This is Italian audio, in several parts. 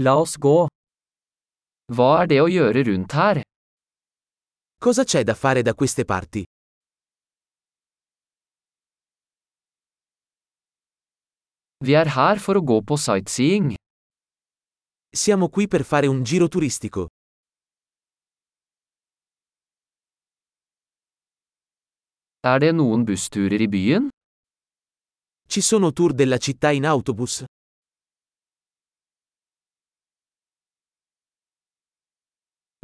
La oss gå. Hva er det å gjøre rundt her? Cosa c'è da fare da queste parti? Vi er her for å gå på sightseeing. Siamo qui per fare un giro turistico. Er det noen bussturer i byen? Ci sono tour della città in autobus?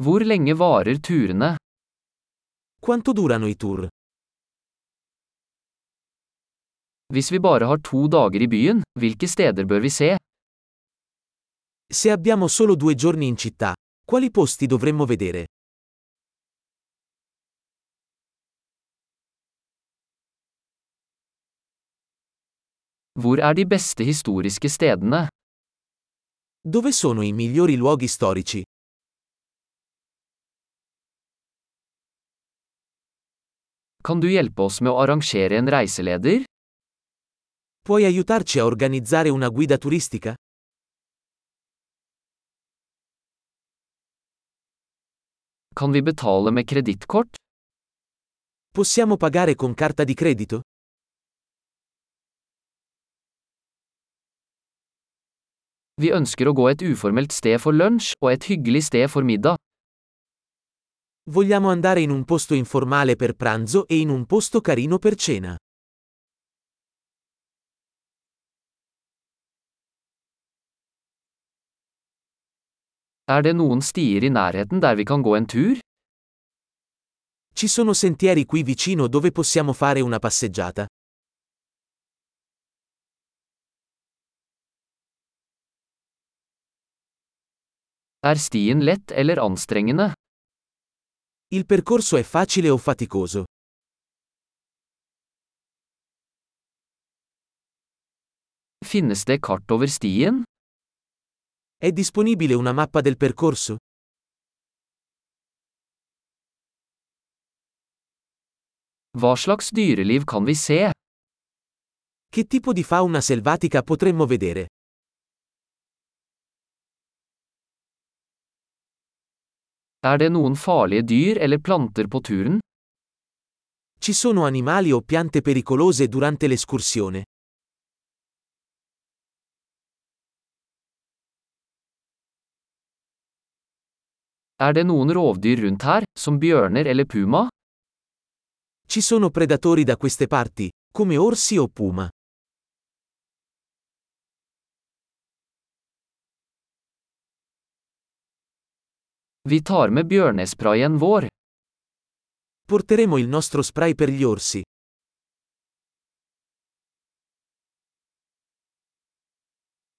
Hvor lenge varer turene? Quanto durano i tour? Hvis vi bare har to dager i byen, hvilke steder bør vi se? Se abbiamo solo due giorni in città, quali posti dovremmo vedere? Hvor er de beste historiske stedene? Dove sono i migliori luoghi storici? Kan du hjelpe oss med å arrangere en reiseleder? Puoi aiutarci a organizzare una guida turistica? Kan vi betale med kredittkort? Possiamo pagare con carta di credito? Vi ønsker å gå et uformelt sted for lunsj og et hyggelig sted for middag. Vogliamo andare in un posto informale per pranzo e in un posto carino per cena. Er det noen stier i nærheten der vi kan gå en tur? Ci sono sentieri qui vicino dove possiamo fare una passeggiata. Er stien lett eller anstrengende? Il percorso è facile o faticoso? Finnes det kart over stien? È disponibile una mappa del percorso? Hva slags dyreliv kan vi se? Che tipo di fauna selvatica potremmo vedere? Er det noen farlige dyr eller planter på turen? Ci sono animali o piante pericolose durante l'escursione? Er det noen rovdyr rundt her, som bjørner eller puma? Ci sono predatori da queste parti, come orsi o puma. Vi tar med bjørnesprayen vår. Porteremo il nostro spray per gli orsi.